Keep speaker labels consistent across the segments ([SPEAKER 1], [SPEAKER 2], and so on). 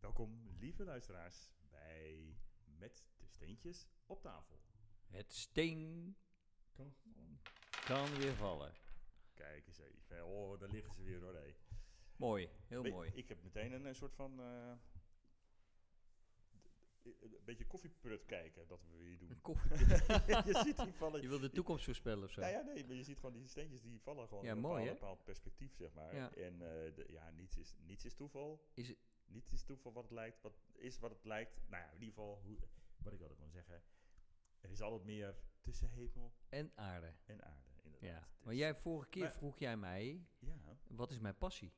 [SPEAKER 1] Welkom, lieve luisteraars, bij Met de Steentjes op tafel.
[SPEAKER 2] Het steen
[SPEAKER 1] Kan vallen.
[SPEAKER 2] kan weer vallen.
[SPEAKER 1] Kijk eens even. Oh, daar liggen ze weer hoor. hé.
[SPEAKER 2] Mooi, heel
[SPEAKER 1] Weet-
[SPEAKER 2] mooi.
[SPEAKER 1] Ik heb meteen een, eh, soort van. eh, d- d- een beetje koffieprut kijken dat we hier doen.
[SPEAKER 2] Een koffie.
[SPEAKER 1] je ziet die vallen.
[SPEAKER 2] Je wil de toekomst voorspellen of zo.
[SPEAKER 1] Nou ja, nee, maar je ziet gewoon die steentjes die vallen gewoon
[SPEAKER 2] Ja,
[SPEAKER 1] in een
[SPEAKER 2] mooi,
[SPEAKER 1] bepaald,
[SPEAKER 2] hè?
[SPEAKER 1] bepaald perspectief, zeg maar.
[SPEAKER 2] Ja.
[SPEAKER 1] En eh, de- ja, niets is, niets is toeval.
[SPEAKER 2] Is het-
[SPEAKER 1] Niets is toeval wat het lijkt, wat is wat het lijkt. Nou ja, in ieder geval, hoe, wat ik altijd kan zeggen. Er is altijd meer tussen hemel
[SPEAKER 2] En aarde.
[SPEAKER 1] en aarde, inderdaad.
[SPEAKER 2] Ja.
[SPEAKER 1] Dus-
[SPEAKER 2] Maar jij, vorige keer
[SPEAKER 1] Maar-
[SPEAKER 2] vroeg jij mij,
[SPEAKER 1] Ja,
[SPEAKER 2] wat is mijn passie?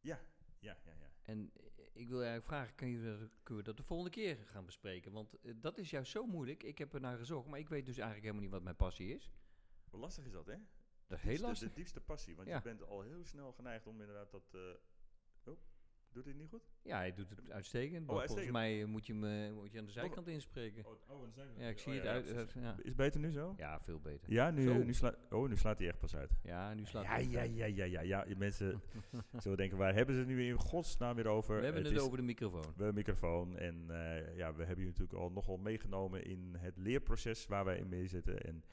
[SPEAKER 1] ja, ja, ja. ja.
[SPEAKER 2] En eh, ik wil je eigenlijk vragen, kan je dat, kunnen we dat de volgende keer gaan bespreken? Want eh, dat is juist zo moeilijk. Ik heb er naar gezocht, maar ik weet dus eigenlijk helemaal niet wat mijn passie is.
[SPEAKER 1] Hoe lastig is dat, hè?
[SPEAKER 2] Dat is heel
[SPEAKER 1] Diepste-
[SPEAKER 2] lastig.
[SPEAKER 1] De diepste passie, want
[SPEAKER 2] Ja.
[SPEAKER 1] je bent al heel snel geneigd om inderdaad dat... eh, oh, doet hij niet goed?
[SPEAKER 2] Ja, hij doet het uitstekend. maar
[SPEAKER 1] Oh, uitstekend.
[SPEAKER 2] Volgens mij eh, moet je, hem, eh, moet je aan de zijkant inspreken.
[SPEAKER 1] Oh, oh dan zijn we
[SPEAKER 2] Ja, ik
[SPEAKER 1] Oh,
[SPEAKER 2] zie het
[SPEAKER 1] ja,
[SPEAKER 2] uit.
[SPEAKER 1] precies.
[SPEAKER 2] uit- ja.
[SPEAKER 1] Is beter nu zo?
[SPEAKER 2] ja, veel beter.
[SPEAKER 1] Ja, nu,
[SPEAKER 2] Zo.
[SPEAKER 1] nu, sla oh, nu slaat hij echt pas uit.
[SPEAKER 2] Ja, nu slaat
[SPEAKER 1] Ja,
[SPEAKER 2] het
[SPEAKER 1] ja,
[SPEAKER 2] uit.
[SPEAKER 1] ja, ja, ja, ja. Je Mensen zullen denken, waar hebben ze het nu in godsnaam weer over?
[SPEAKER 2] We hebben het,
[SPEAKER 1] is-
[SPEAKER 2] over de microfoon.
[SPEAKER 1] We hebben een microfoon en eh, ja, we hebben jullie natuurlijk al nogal meegenomen in het leerproces waar wij in mee zitten. En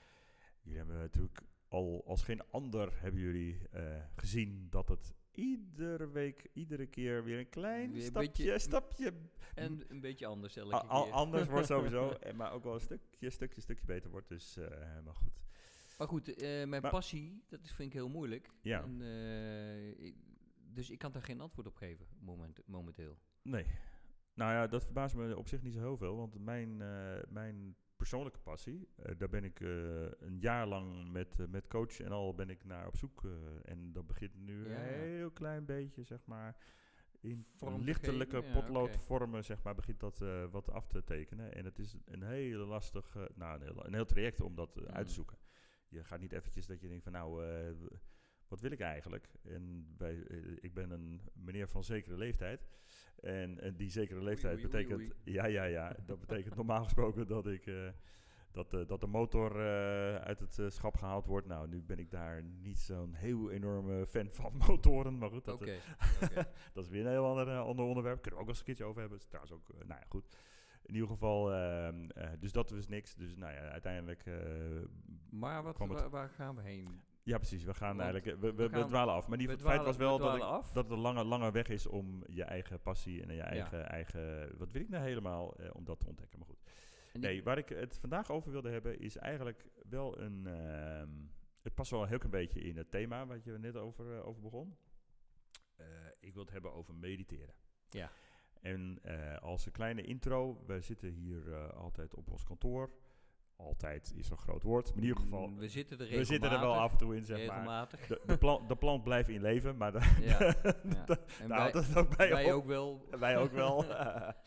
[SPEAKER 1] jullie hebben natuurlijk al als geen ander hebben jullie eh, gezien dat het iedere week, iedere keer weer een klein
[SPEAKER 2] Weer een
[SPEAKER 1] stapje,
[SPEAKER 2] beetje-
[SPEAKER 1] stapje
[SPEAKER 2] En een beetje anders elke
[SPEAKER 1] a- a-
[SPEAKER 2] keer.
[SPEAKER 1] anders wordt sowieso, en maar ook wel een stukje, stukje, stukje beter wordt. Dus, eh, maar goed.
[SPEAKER 2] Maar goed, eh, mijn
[SPEAKER 1] Maar-
[SPEAKER 2] passie, dat is, vind ik heel moeilijk.
[SPEAKER 1] Ja.
[SPEAKER 2] En, eh, ik- dus ik kan daar geen antwoord op geven, moment, momenteel.
[SPEAKER 1] Nee. Nou ja, dat verbaast me op zich niet zo heel veel. Want mijn, eh, mijn persoonlijke passie, eh, daar ben ik eh, een jaar lang met, eh, met coach en al ben ik naar op zoek. eh, en dat begint nu
[SPEAKER 2] Ja.
[SPEAKER 1] een heel klein beetje, zeg maar, in
[SPEAKER 2] Vorm te
[SPEAKER 1] lichtelijke
[SPEAKER 2] geven, ja, oké.
[SPEAKER 1] potloodvormen, zeg maar, begint dat eh, wat af te tekenen. En het is een hele lastig, eh, nou, een heel, een heel traject om dat eh, uit te
[SPEAKER 2] Mm.
[SPEAKER 1] zoeken. Je gaat niet eventjes dat je denkt van nou, eh, w- wat wil ik eigenlijk? En wij, eh, ik ben een meneer van zekere leeftijd. En, eh, die zekere leeftijd
[SPEAKER 2] oei, oei,
[SPEAKER 1] betekent. Ja, ja, ja. Dat betekent normaal gesproken dat ik. eh, dat, eh, dat de motor eh, uit het eh, schap gehaald wordt. Nou, nu ben ik daar niet zo'n heel enorme fan van motoren. Maar goed,
[SPEAKER 2] Oké.
[SPEAKER 1] dat, eh,
[SPEAKER 2] oké.
[SPEAKER 1] dat is weer een heel ander, eh, ander onderwerp. Kunnen we ook wel eens een keertje over hebben. Is trouwens ook, eh, nou ja, goed. In ieder geval, ehm, eh, dus dat was niks. Dus nou ja, uiteindelijk eh,
[SPEAKER 2] Maar wat,
[SPEAKER 1] Kwam het-
[SPEAKER 2] waar, waar gaan we heen?
[SPEAKER 1] ja, precies. We gaan
[SPEAKER 2] Want
[SPEAKER 1] eigenlijk. eh, We, we, we
[SPEAKER 2] gaan-
[SPEAKER 1] dwalen af. Maar die
[SPEAKER 2] we
[SPEAKER 1] het
[SPEAKER 2] dwalen-
[SPEAKER 1] feit was wel
[SPEAKER 2] we
[SPEAKER 1] dat, ik,
[SPEAKER 2] dwalen af.
[SPEAKER 1] dat het een lange, lange weg is om je eigen passie en je eigen. eigen wat wil ik nou helemaal eh, om dat te ontdekken? Maar goed.
[SPEAKER 2] En die-
[SPEAKER 1] Nee, waar ik het vandaag over wilde hebben is eigenlijk wel een. ehm, het past wel een heel klein beetje in het thema wat je net over, eh, over begon. Eh, ik wil het hebben over mediteren.
[SPEAKER 2] Ja.
[SPEAKER 1] En eh, als een kleine intro, wij zitten hier eh, altijd op ons kantoor. Altijd is een groot woord, maar in ieder geval.
[SPEAKER 2] Mm, we zitten er
[SPEAKER 1] We zitten er wel af en toe in, zeg maar.
[SPEAKER 2] Regelmatig.
[SPEAKER 1] De, de, plan- de plant blijft in leven, maar daar
[SPEAKER 2] Ja, ja. En wij,
[SPEAKER 1] houdt het nou, ook bij
[SPEAKER 2] wij
[SPEAKER 1] op.
[SPEAKER 2] ook wel.
[SPEAKER 1] Wij ook wel.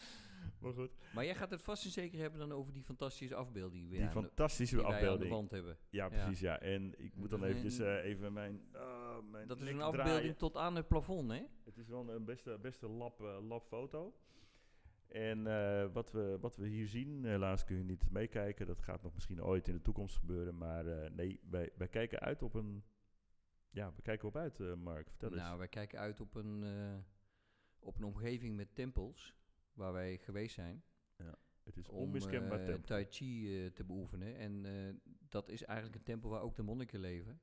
[SPEAKER 1] maar goed,
[SPEAKER 2] Maar jij gaat het vast en zeker hebben dan over die fantastische afbeelding. Die, we
[SPEAKER 1] die
[SPEAKER 2] aan de-
[SPEAKER 1] fantastische
[SPEAKER 2] die wij aan de
[SPEAKER 1] afbeelding.
[SPEAKER 2] wand hebben.
[SPEAKER 1] ja, precies, ja. En ik moet dan
[SPEAKER 2] Dat is
[SPEAKER 1] eventjes
[SPEAKER 2] een-
[SPEAKER 1] eh, even mijn, ah, mijn
[SPEAKER 2] Dat is
[SPEAKER 1] nek
[SPEAKER 2] een
[SPEAKER 1] draaien.
[SPEAKER 2] afbeelding tot aan het plafond, hè?
[SPEAKER 1] Het is wel een beste, beste lab, eh, labfoto. En eh, wat, we, wat we hier zien, eh, helaas kun je niet meekijken. Dat gaat nog misschien ooit in de toekomst gebeuren. Maar eh, nee, wij, wij kijken uit op een... Ja, we kijken op uit, eh, Mark. Vertel eens.
[SPEAKER 2] Nou, wij kijken uit op een, eh, op een omgeving met tempels waar wij geweest zijn.
[SPEAKER 1] Het is
[SPEAKER 2] Om
[SPEAKER 1] onmiskenbaar
[SPEAKER 2] eh,
[SPEAKER 1] tempo.
[SPEAKER 2] Tai Chi eh, te beoefenen. En eh, dat is eigenlijk een tempel waar ook de monniken leven.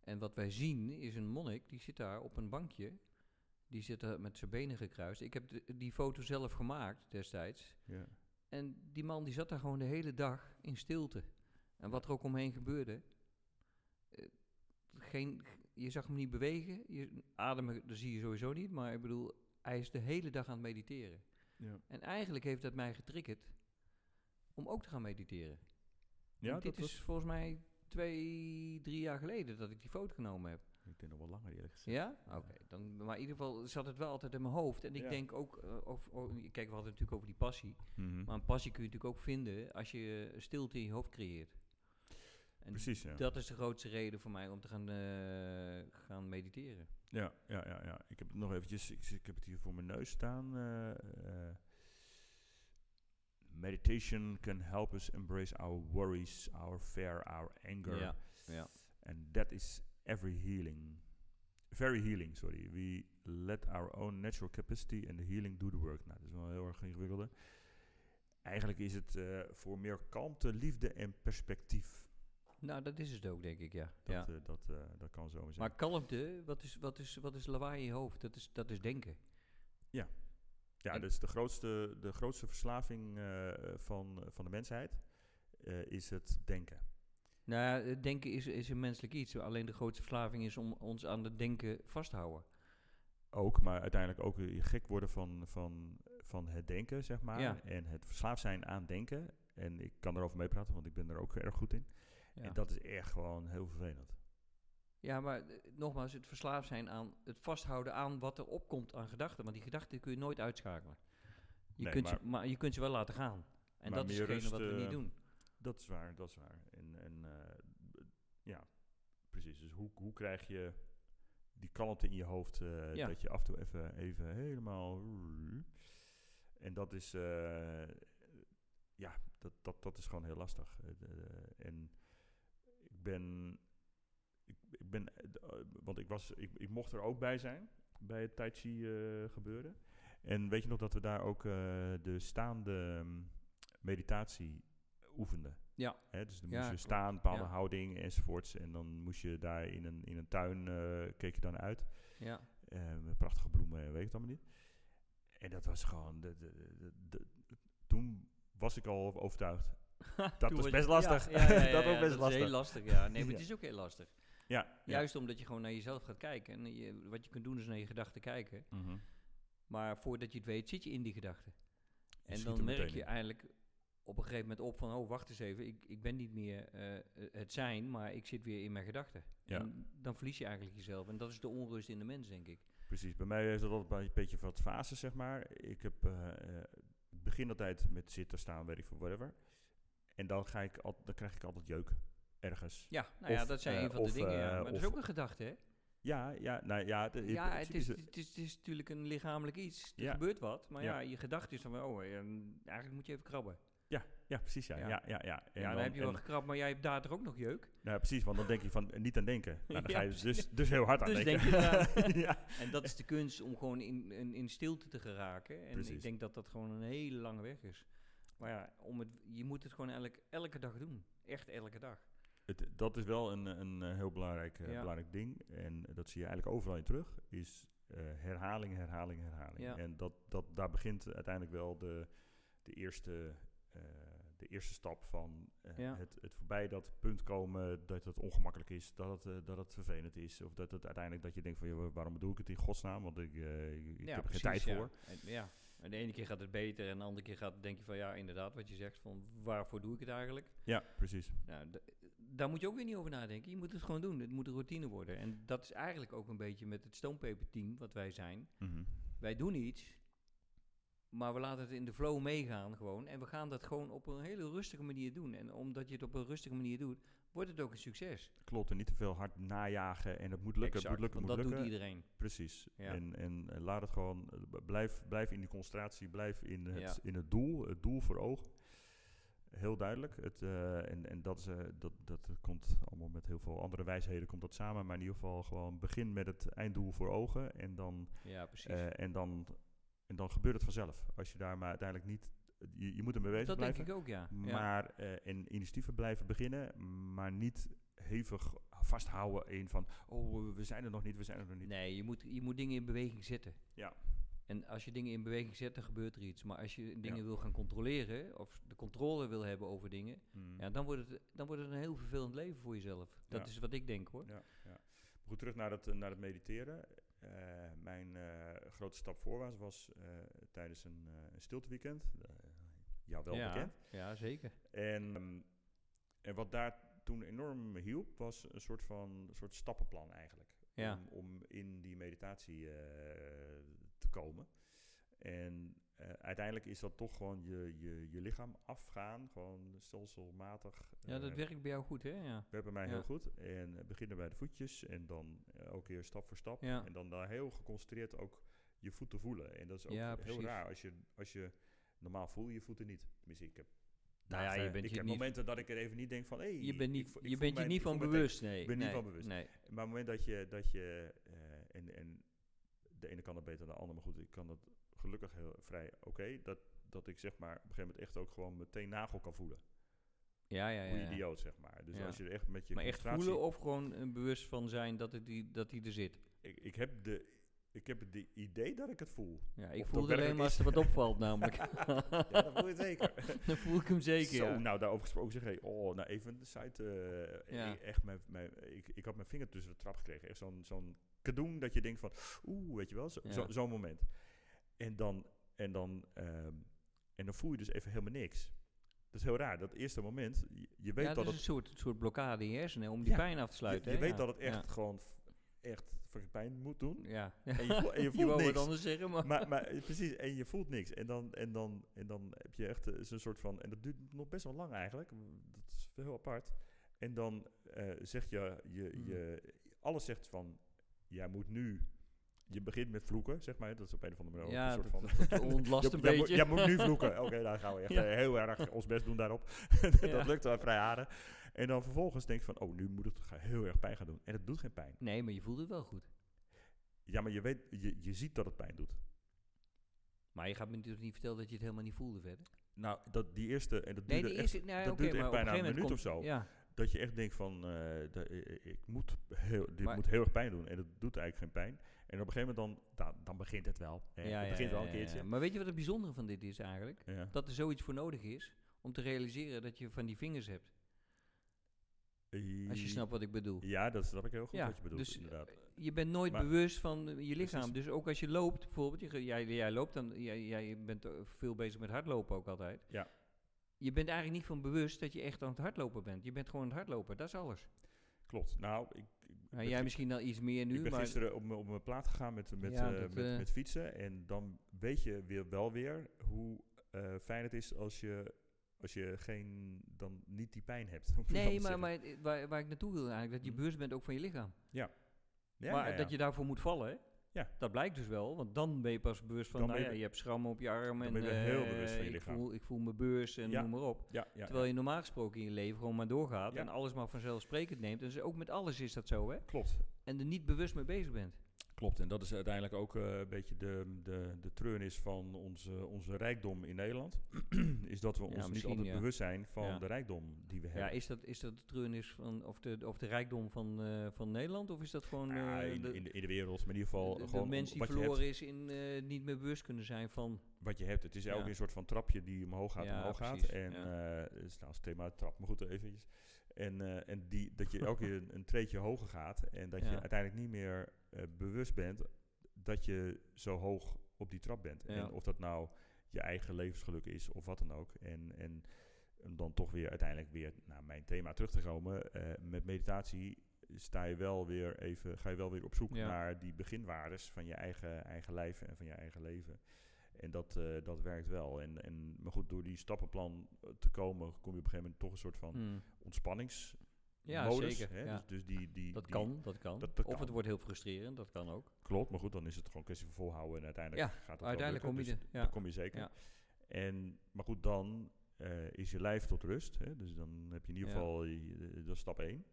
[SPEAKER 2] En wat wij zien is een monnik die zit daar op een bankje. Die zit daar met zijn benen gekruist. Ik heb de- die foto zelf gemaakt destijds.
[SPEAKER 1] Ja.
[SPEAKER 2] En die man die zat daar gewoon de hele dag in stilte. En wat er ook omheen gebeurde. eh, Geen, je zag hem niet bewegen. Je, ademen dat zie je sowieso niet. Maar ik bedoel, hij is de hele dag aan het mediteren.
[SPEAKER 1] Ja,
[SPEAKER 2] En eigenlijk heeft dat mij getriggerd om ook te gaan mediteren.
[SPEAKER 1] ja
[SPEAKER 2] Want
[SPEAKER 1] dat
[SPEAKER 2] dit
[SPEAKER 1] is...
[SPEAKER 2] is volgens mij twee, drie jaar geleden dat ik die foto genomen heb.
[SPEAKER 1] Ik denk nog wel langer eerlijk gezegd.
[SPEAKER 2] Ja? Oké. dan- Maar in ieder geval zat het wel altijd in mijn hoofd. En ik
[SPEAKER 1] Ja.
[SPEAKER 2] denk ook, eh, of, of- kijk, we hadden het natuurlijk over die passie.
[SPEAKER 1] Mhm.
[SPEAKER 2] Maar een passie kun je natuurlijk ook vinden als je eh, stilte in je hoofd creëert. En
[SPEAKER 1] Precies, ja.
[SPEAKER 2] Dat is de grootste reden voor mij om te gaan, eh, gaan mediteren.
[SPEAKER 1] Ja, ja, ja, ja. Ik heb het nog eventjes... Ik, ik heb het hier voor mijn neus staan. eh, eh. meditation can help us embrace our worries, our fear, our anger.
[SPEAKER 2] Ja, ja.
[SPEAKER 1] And that is every healing. Very healing, sorry. We Let our own natural capacity and the healing do the work. Nou, dat is wel een heel erg ingewikkelde. Eigenlijk is het eh, voor meer kalmte, liefde en perspectief.
[SPEAKER 2] Nou, dat is het ook, denk ik, ja.
[SPEAKER 1] Dat,
[SPEAKER 2] ja.
[SPEAKER 1] eh, dat, eh, dat kan zo zijn.
[SPEAKER 2] Maar kalmte, wat is, wat, is, wat is lawaai in je hoofd? Dat is, dat is denken.
[SPEAKER 1] Ja,
[SPEAKER 2] En-
[SPEAKER 1] dat is de grootste, de grootste verslaving eh, van, van de mensheid, eh, is het denken.
[SPEAKER 2] Nou ja, het denken is, is een menselijk iets. Alleen de grootste verslaving is om ons aan het denken vast te houden.
[SPEAKER 1] Ook, maar uiteindelijk ook je gek worden van, van, van het denken, zeg maar.
[SPEAKER 2] Ja.
[SPEAKER 1] En het verslaafd zijn aan denken. En ik kan erover meepraten, want ik ben er ook erg goed in.
[SPEAKER 2] Ja,
[SPEAKER 1] En dat is echt gewoon heel vervelend.
[SPEAKER 2] ja maar eh, nogmaals, het verslaafd zijn aan het vasthouden aan wat er opkomt aan gedachten. Want die gedachten kun je nooit uitschakelen. Je,
[SPEAKER 1] Nee,
[SPEAKER 2] kunt,
[SPEAKER 1] maar-
[SPEAKER 2] ze, maar je kunt ze wel laten gaan. En
[SPEAKER 1] Maar
[SPEAKER 2] dat is
[SPEAKER 1] meer
[SPEAKER 2] hetgene
[SPEAKER 1] rust,
[SPEAKER 2] wat we niet
[SPEAKER 1] eh,
[SPEAKER 2] doen.
[SPEAKER 1] Dat is waar, dat is waar. En, en eh, b- ja, precies. Dus hoe, hoe krijg je die kalmte in je hoofd eh,
[SPEAKER 2] Ja.
[SPEAKER 1] dat je af en toe even, even helemaal... En dat is, eh, ja, dat, dat, dat is gewoon heel lastig. Eh, de- de- en ik ben, ik, ik ben, eh, d- eh, want ik was, ik, ik mocht er ook bij zijn, bij het Tai Chi eh, gebeuren. En weet je nog dat we daar ook eh, de staande mm, meditatie oefenden?
[SPEAKER 2] Ja.
[SPEAKER 1] Hè, dus dan
[SPEAKER 2] Ja,
[SPEAKER 1] moest je
[SPEAKER 2] klopt.
[SPEAKER 1] staan, bepaalde
[SPEAKER 2] Ja.
[SPEAKER 1] houding enzovoorts. En dan moest je daar in een, in een tuin, eh, keek je dan uit.
[SPEAKER 2] Ja.
[SPEAKER 1] Eh, met prachtige bloemen en weet ik het allemaal niet. En dat was gewoon... De, de, de- de- de- toen was ik al overtuigd. Dat
[SPEAKER 2] Toen
[SPEAKER 1] was
[SPEAKER 2] was
[SPEAKER 1] best
[SPEAKER 2] je-
[SPEAKER 1] lastig.
[SPEAKER 2] ja, ja, ja, ja,
[SPEAKER 1] dat
[SPEAKER 2] ja,
[SPEAKER 1] was best
[SPEAKER 2] is
[SPEAKER 1] lastig.
[SPEAKER 2] heel lastig, ja. Nee, maar het
[SPEAKER 1] Ja.
[SPEAKER 2] is ook heel lastig.
[SPEAKER 1] Ja, ja.
[SPEAKER 2] Juist omdat je gewoon naar jezelf gaat kijken. En je, wat je kunt doen is naar je gedachten kijken.
[SPEAKER 1] Mhm.
[SPEAKER 2] Maar voordat je het weet, zit je in die gedachten. En
[SPEAKER 1] schiet
[SPEAKER 2] dan
[SPEAKER 1] er
[SPEAKER 2] merk
[SPEAKER 1] meteen
[SPEAKER 2] je
[SPEAKER 1] in.
[SPEAKER 2] eigenlijk op een gegeven moment op van... oh, wacht eens even, ik, ik ben niet meer eh, het zijn... maar ik zit weer in mijn gedachten.
[SPEAKER 1] Ja.
[SPEAKER 2] En dan verlies je eigenlijk jezelf. En dat is de onrust in de mens, denk ik.
[SPEAKER 1] Precies, bij mij heeft dat altijd een beetje wat fases, zeg maar. Ik heb, eh, eh, ik begin altijd met zitten, staan, weet ik veel, whatever. En dan, ga ik al, dan krijg ik altijd jeuk, ergens.
[SPEAKER 2] Ja, nou ja,
[SPEAKER 1] Of,
[SPEAKER 2] dat zijn
[SPEAKER 1] eh,
[SPEAKER 2] een van
[SPEAKER 1] of,
[SPEAKER 2] de dingen. ja.
[SPEAKER 1] eh,
[SPEAKER 2] Maar dat is
[SPEAKER 1] of-
[SPEAKER 2] ook een gedachte, hè?
[SPEAKER 1] Ja, ja, nou ja. de-
[SPEAKER 2] Ja, het
[SPEAKER 1] principe
[SPEAKER 2] is,
[SPEAKER 1] is-
[SPEAKER 2] het, is, het is natuurlijk een lichamelijk iets. Er
[SPEAKER 1] Ja.
[SPEAKER 2] gebeurt wat, maar ja,
[SPEAKER 1] Ja.
[SPEAKER 2] je gedachte is dan van... oh, eh, eigenlijk moet je even krabben.
[SPEAKER 1] ja, precies, ja.
[SPEAKER 2] Ja.
[SPEAKER 1] ja. ja, ja, En
[SPEAKER 2] Ja, dan, heb je wel
[SPEAKER 1] en-
[SPEAKER 2] gekrapt, maar jij hebt daar ook nog jeuk.
[SPEAKER 1] nou, ja, precies, want dan denk je van eh, niet aan denken. Nou, dan
[SPEAKER 2] Ja,
[SPEAKER 1] ga je dus, dus heel hard aan
[SPEAKER 2] Dus
[SPEAKER 1] denken.
[SPEAKER 2] denk je eraan.
[SPEAKER 1] ja.
[SPEAKER 2] En dat is de kunst om gewoon in, in, in stilte te geraken. En ik
[SPEAKER 1] Precies.
[SPEAKER 2] denk dat dat gewoon een hele lange weg is. Maar ja, om het, je moet het gewoon elk, elke dag doen. Echt elke dag.
[SPEAKER 1] Het, dat is wel een, een eh, heel belangrijk, eh,
[SPEAKER 2] Ja.
[SPEAKER 1] belangrijk ding. En dat zie je eigenlijk overal in terug. Is eh, herhaling, herhaling, herhaling.
[SPEAKER 2] Ja.
[SPEAKER 1] En dat, dat, daar begint uiteindelijk wel de, de, eerste, eh, de eerste stap van eh,
[SPEAKER 2] Ja.
[SPEAKER 1] het, het voorbij dat punt komen dat het ongemakkelijk is, dat het, eh, dat het vervelend is. Of dat het uiteindelijk dat je denkt van joh, waarom doe ik het in godsnaam? Want ik, eh, ik ik
[SPEAKER 2] ja,
[SPEAKER 1] heb er geen
[SPEAKER 2] precies,
[SPEAKER 1] tijd
[SPEAKER 2] ja.
[SPEAKER 1] voor.
[SPEAKER 2] En, ja. En de ene keer gaat het beter en de andere keer gaat, denk je van ja, inderdaad, wat je zegt, van waarvoor doe ik het eigenlijk?
[SPEAKER 1] Ja, precies.
[SPEAKER 2] Nou, d- daar moet je ook weer niet over nadenken. Je moet het gewoon doen. Het moet een routine worden. En dat is eigenlijk ook een beetje met het stoompeperteam, wat wij zijn.
[SPEAKER 1] Mhm.
[SPEAKER 2] wij doen iets, maar we laten het in de flow meegaan gewoon. En we gaan dat gewoon op een hele rustige manier doen. En omdat je het op een rustige manier doet, wordt het ook een succes.
[SPEAKER 1] Klopt, en niet te veel hard najagen en het moet lukken, het moet lukken,
[SPEAKER 2] want
[SPEAKER 1] het
[SPEAKER 2] dat
[SPEAKER 1] moet lukken.
[SPEAKER 2] doet iedereen.
[SPEAKER 1] Precies.
[SPEAKER 2] Ja.
[SPEAKER 1] En, en eh, laat het gewoon, eh, b- blijf, blijf in die concentratie, blijf in het,
[SPEAKER 2] Ja.
[SPEAKER 1] in het doel, het doel voor ogen. Heel duidelijk. Het, eh, en en dat, is, eh, dat, dat komt allemaal met heel veel andere wijsheden komt dat samen, maar in ieder geval gewoon begin met het einddoel voor ogen en dan,
[SPEAKER 2] Ja, precies.
[SPEAKER 1] eh, en dan, en dan gebeurt het vanzelf. Als je daar maar uiteindelijk niet, je, je moet ermee bezig
[SPEAKER 2] dat
[SPEAKER 1] blijven.
[SPEAKER 2] denk ik ook, ja. ja.
[SPEAKER 1] Maar eh, en initiatieven blijven beginnen, maar niet hevig vasthouden in van, oh, we zijn er nog niet, we zijn er nog niet.
[SPEAKER 2] Nee, je moet, je moet dingen in beweging zetten.
[SPEAKER 1] Ja.
[SPEAKER 2] En als je dingen in beweging zet, dan gebeurt er iets. Maar als je dingen
[SPEAKER 1] Ja.
[SPEAKER 2] wil gaan controleren, of de controle wil hebben over dingen,
[SPEAKER 1] Mm.
[SPEAKER 2] ja, dan, wordt het, dan wordt het een heel vervelend leven voor jezelf. Dat
[SPEAKER 1] Ja.
[SPEAKER 2] is wat ik denk hoor.
[SPEAKER 1] Ja, ja. Goed, terug naar het, eh, naar het mediteren. Eh, mijn eh, grote stap voorwaarts was eh, tijdens een, eh, een stilteweekend. Eh, jou wel
[SPEAKER 2] ja,
[SPEAKER 1] bekend.
[SPEAKER 2] ja, zeker.
[SPEAKER 1] En, ehm, en wat daar toen enorm hielp, was een soort van een soort stappenplan eigenlijk.
[SPEAKER 2] Ja.
[SPEAKER 1] Om, om in die meditatie eh, te komen. En eh, uiteindelijk is dat toch gewoon je, je, je lichaam afgaan, gewoon stelselmatig.
[SPEAKER 2] Ja, dat
[SPEAKER 1] eh,
[SPEAKER 2] werkt bij jou goed hè? Ja.
[SPEAKER 1] we hebben mij
[SPEAKER 2] Ja.
[SPEAKER 1] heel goed. En eh, beginnen bij de voetjes en dan eh, elke keer stap voor stap.
[SPEAKER 2] Ja.
[SPEAKER 1] En dan daar heel geconcentreerd ook je voeten voelen. En dat is ook
[SPEAKER 2] Ja,
[SPEAKER 1] heel
[SPEAKER 2] precies.
[SPEAKER 1] raar. Als je, als je, normaal voel je je voeten niet. Tenminste, ik heb,
[SPEAKER 2] Nou ja,
[SPEAKER 1] dagen-
[SPEAKER 2] je bent
[SPEAKER 1] ik
[SPEAKER 2] je
[SPEAKER 1] heb
[SPEAKER 2] niet-
[SPEAKER 1] momenten dat ik er even niet denk van... Hey,
[SPEAKER 2] Je bent,
[SPEAKER 1] ik
[SPEAKER 2] niet,
[SPEAKER 1] vo- ik
[SPEAKER 2] je
[SPEAKER 1] voel
[SPEAKER 2] bent je
[SPEAKER 1] mijn-
[SPEAKER 2] niet
[SPEAKER 1] ik
[SPEAKER 2] van
[SPEAKER 1] voel mijn
[SPEAKER 2] bewust, nee.
[SPEAKER 1] Ik ben niet
[SPEAKER 2] nee,
[SPEAKER 1] van bewust.
[SPEAKER 2] Nee.
[SPEAKER 1] teen- Maar op het moment dat je... Dat je eh, en, en de ene kan het beter dan de ander. Maar goed, ik kan dat gelukkig heel vrij oké. dat, dat ik zeg maar op een gegeven moment echt ook gewoon meteen nagel kan voelen.
[SPEAKER 2] Ja, ja, ja.
[SPEAKER 1] Hoe
[SPEAKER 2] ja.
[SPEAKER 1] idioot, zeg maar. Dus
[SPEAKER 2] Ja.
[SPEAKER 1] als je er echt met je
[SPEAKER 2] Maar echt
[SPEAKER 1] concentratie-
[SPEAKER 2] voelen of gewoon eh, bewust van zijn dat, het die, dat die er zit?
[SPEAKER 1] Ik, ik heb de... Ik heb het i- idee dat ik het voel.
[SPEAKER 2] Ja, ik
[SPEAKER 1] Of
[SPEAKER 2] voel
[SPEAKER 1] dat
[SPEAKER 2] het alleen maar als er
[SPEAKER 1] werkelijk
[SPEAKER 2] wat opvalt namelijk.
[SPEAKER 1] Ja, dat voel je zeker.
[SPEAKER 2] Dan voel ik hem zeker,
[SPEAKER 1] Zo,
[SPEAKER 2] ja.
[SPEAKER 1] nou daarover gesproken zeg hey, oh, nou even de site. eh,
[SPEAKER 2] Ja.
[SPEAKER 1] e- Echt, mijn, mijn, ik, ik had mijn vinger tussen de trap gekregen. Echt zo'n zo'n kadoen dat je denkt van, oeh, weet je wel, zo-
[SPEAKER 2] Ja.
[SPEAKER 1] zo- zo'n moment. En dan, en, dan, ehm, en dan voel je dus even helemaal niks. Dat is heel raar, dat eerste moment, je, je weet
[SPEAKER 2] ja,
[SPEAKER 1] dat
[SPEAKER 2] dat is
[SPEAKER 1] het,
[SPEAKER 2] een soort, soort blokkade in je hersenen om die
[SPEAKER 1] Ja,
[SPEAKER 2] pijn af te
[SPEAKER 1] je,
[SPEAKER 2] sluiten.
[SPEAKER 1] je
[SPEAKER 2] hè?
[SPEAKER 1] weet
[SPEAKER 2] Ja,
[SPEAKER 1] dat het echt
[SPEAKER 2] Ja.
[SPEAKER 1] gewoon, f- echt fucking pijn moet doen.
[SPEAKER 2] ja.
[SPEAKER 1] En je, voel- en je
[SPEAKER 2] Je
[SPEAKER 1] voelt
[SPEAKER 2] wou wat
[SPEAKER 1] niks.
[SPEAKER 2] anders zeggen, maar...
[SPEAKER 1] Maar, maar eh, precies, en je voelt niks. En dan, en dan, en dan heb je echt eh, zo'n soort van. En dat duurt nog best wel lang eigenlijk. Mm, Dat is heel apart. En dan eh zeg je, je,
[SPEAKER 2] Hmm.
[SPEAKER 1] je. Alles zegt van. Jij moet nu. Je begint met vloeken, zeg maar. Dat is op een of andere manier. ook
[SPEAKER 2] ja,
[SPEAKER 1] een
[SPEAKER 2] dat,
[SPEAKER 1] soort van.
[SPEAKER 2] dat- dat ontlast
[SPEAKER 1] "Jij moet-
[SPEAKER 2] een
[SPEAKER 1] jij moet-
[SPEAKER 2] beetje.
[SPEAKER 1] Jij moet nu vloeken. Oh. Oké, daar gaan we echt
[SPEAKER 2] Ja.
[SPEAKER 1] eh, heel erg ons best doen daarop. dat
[SPEAKER 2] Ja.
[SPEAKER 1] lukt wel vrij aardig. En dan vervolgens denk je van, oh, nu moet het ga- heel erg pijn gaan doen. En het doet geen pijn.
[SPEAKER 2] Nee, maar je voelt het wel goed.
[SPEAKER 1] Ja, maar je, weet, je, je ziet dat het pijn doet.
[SPEAKER 2] Maar je gaat me natuurlijk niet vertellen dat je het helemaal niet voelde verder.
[SPEAKER 1] Nou, dat, die eerste, en dat
[SPEAKER 2] Nee,
[SPEAKER 1] duurde
[SPEAKER 2] die
[SPEAKER 1] echt
[SPEAKER 2] eerste... Nee,
[SPEAKER 1] dat
[SPEAKER 2] oké,
[SPEAKER 1] duurt echt
[SPEAKER 2] maar op
[SPEAKER 1] bijna
[SPEAKER 2] een
[SPEAKER 1] een
[SPEAKER 2] gegeven
[SPEAKER 1] minuut of
[SPEAKER 2] moment
[SPEAKER 1] zo.
[SPEAKER 2] komt- Ja,
[SPEAKER 1] Dat je echt denkt van, eh, dat- eh, eh, ik moet heel, dit
[SPEAKER 2] Maar-
[SPEAKER 1] moet heel erg pijn doen. En dat doet eigenlijk geen pijn. En op een gegeven moment dan, dan, dan begint het wel. hè.
[SPEAKER 2] ja,
[SPEAKER 1] het
[SPEAKER 2] ja,
[SPEAKER 1] begint
[SPEAKER 2] ja,
[SPEAKER 1] wel een
[SPEAKER 2] ja, ja.
[SPEAKER 1] keertje.
[SPEAKER 2] Maar weet je wat het bijzondere van dit is eigenlijk?
[SPEAKER 1] Ja, ja.
[SPEAKER 2] Dat er zoiets voor nodig is om te realiseren dat je van die vingers hebt. Als je snapt wat ik bedoel.
[SPEAKER 1] Eh, Ja, dat snap ik heel goed
[SPEAKER 2] Ja,
[SPEAKER 1] wat je bedoelt,
[SPEAKER 2] dus,
[SPEAKER 1] inderdaad.
[SPEAKER 2] Je bent nooit
[SPEAKER 1] Maar-
[SPEAKER 2] bewust van eh, je lichaam.
[SPEAKER 1] Precies.
[SPEAKER 2] Dus ook als je loopt, bijvoorbeeld, je ge- jij, jij loopt dan, jij, jij bent eh, veel bezig met hardlopen ook altijd.
[SPEAKER 1] Ja.
[SPEAKER 2] Je bent eigenlijk niet van bewust dat je echt aan het hardlopen bent. Je bent gewoon aan het hardlopen, dat is alles.
[SPEAKER 1] Klopt. Nou, ik, ik
[SPEAKER 2] Nou,
[SPEAKER 1] ben
[SPEAKER 2] jij
[SPEAKER 1] gi-
[SPEAKER 2] misschien al iets meer
[SPEAKER 1] ik
[SPEAKER 2] nu,
[SPEAKER 1] ben
[SPEAKER 2] maar
[SPEAKER 1] gisteren op, mijn- op mijn plaat gegaan met, met,
[SPEAKER 2] Ja,
[SPEAKER 1] eh,
[SPEAKER 2] dat,
[SPEAKER 1] met,
[SPEAKER 2] eh,
[SPEAKER 1] met fietsen. En dan weet je weer, wel weer hoe eh, fijn het is als je, als je geen, dan niet die pijn hebt. om het zo
[SPEAKER 2] Nee,
[SPEAKER 1] te
[SPEAKER 2] maar,
[SPEAKER 1] zeggen.
[SPEAKER 2] maar het- het- waar, waar ik naartoe wil eigenlijk, dat je
[SPEAKER 1] Hm.
[SPEAKER 2] bewust bent ook van je lichaam.
[SPEAKER 1] Ja,
[SPEAKER 2] maar
[SPEAKER 1] ja, ja.
[SPEAKER 2] dat je daarvoor moet vallen, hè?
[SPEAKER 1] Ja.
[SPEAKER 2] dat blijkt dus wel. Want dan ben je pas bewust van,
[SPEAKER 1] Dan
[SPEAKER 2] nou
[SPEAKER 1] ben
[SPEAKER 2] ja,
[SPEAKER 1] je-
[SPEAKER 2] je hebt schrammen op je arm.
[SPEAKER 1] dan
[SPEAKER 2] en
[SPEAKER 1] ben je heel
[SPEAKER 2] eh,
[SPEAKER 1] bewust van je
[SPEAKER 2] ik
[SPEAKER 1] lichaam.
[SPEAKER 2] Voel, ik voel mijn beurs en
[SPEAKER 1] Ja.
[SPEAKER 2] noem maar op.
[SPEAKER 1] Ja, ja,
[SPEAKER 2] Terwijl je normaal gesproken in je leven gewoon maar doorgaat
[SPEAKER 1] Ja.
[SPEAKER 2] en alles maar vanzelfsprekend neemt. En dus ook met alles is dat zo, hè?
[SPEAKER 1] klopt.
[SPEAKER 2] En er niet bewust mee bezig bent.
[SPEAKER 1] Klopt, en dat is uiteindelijk ook eh, een beetje de, de, de treurnis van onze, onze rijkdom in Nederland. is dat we ons niet
[SPEAKER 2] misschien,
[SPEAKER 1] altijd
[SPEAKER 2] ja.
[SPEAKER 1] bewust zijn van
[SPEAKER 2] Ja.
[SPEAKER 1] de rijkdom die we
[SPEAKER 2] Ja,
[SPEAKER 1] hebben.
[SPEAKER 2] is, dat, is dat de treurnis van, of, de, of de rijkdom van, eh, van Nederland? Of is dat gewoon
[SPEAKER 1] Nou ja,
[SPEAKER 2] eh,
[SPEAKER 1] in,
[SPEAKER 2] de,
[SPEAKER 1] in, de, in de wereld, maar in ieder geval
[SPEAKER 2] de- de
[SPEAKER 1] gewoon om-
[SPEAKER 2] mens die
[SPEAKER 1] wat, je hebt,
[SPEAKER 2] verloren is in eh, niet meer bewust kunnen zijn van...
[SPEAKER 1] wat je hebt. Het is
[SPEAKER 2] Ja.
[SPEAKER 1] elke een soort van trapje die omhoog gaat,
[SPEAKER 2] Ja,
[SPEAKER 1] omhoog gaat.
[SPEAKER 2] precies,
[SPEAKER 1] En
[SPEAKER 2] ja.
[SPEAKER 1] eh, het is nou als thema trap, maar goed, eventjes. En, eh, en die, dat je elke keer een, een treetje hoger gaat en dat
[SPEAKER 2] Ja.
[SPEAKER 1] je uiteindelijk niet meer eh, bewust bent dat je zo hoog op die trap bent.
[SPEAKER 2] Ja.
[SPEAKER 1] En of dat nou je eigen levensgeluk is of wat dan ook. En, en om dan toch weer uiteindelijk weer naar mijn thema terug te komen. eh, met meditatie sta je wel weer even, ga je wel weer op zoek
[SPEAKER 2] Ja.
[SPEAKER 1] naar die beginwaardes van je eigen, eigen lijf en van je eigen leven. En dat, eh, dat werkt wel. En, en, maar goed, door die stappenplan eh, te komen, kom je op een gegeven moment toch een soort van
[SPEAKER 2] Hmm.
[SPEAKER 1] ontspanningsmodus.
[SPEAKER 2] Ja, zeker,
[SPEAKER 1] Hè?
[SPEAKER 2] ja.
[SPEAKER 1] Dus, dus die, die,
[SPEAKER 2] Dat
[SPEAKER 1] die-
[SPEAKER 2] kan, dat kan.
[SPEAKER 1] dat- dat
[SPEAKER 2] of
[SPEAKER 1] kan.
[SPEAKER 2] het wordt heel frustrerend, dat kan ook.
[SPEAKER 1] Klopt, maar goed, dan is het gewoon een kwestie van volhouden. En uiteindelijk
[SPEAKER 2] Ja,
[SPEAKER 1] gaat het wel
[SPEAKER 2] Uiteindelijk
[SPEAKER 1] lukken.
[SPEAKER 2] kom je
[SPEAKER 1] Dus
[SPEAKER 2] er.
[SPEAKER 1] ja.
[SPEAKER 2] Ja.
[SPEAKER 1] kom je zeker.
[SPEAKER 2] Ja.
[SPEAKER 1] En, maar goed, dan eh, is je lijf tot rust. Hè? Dus dan heb je in ieder
[SPEAKER 2] Ja.
[SPEAKER 1] geval, je- eh, dat is stap 1.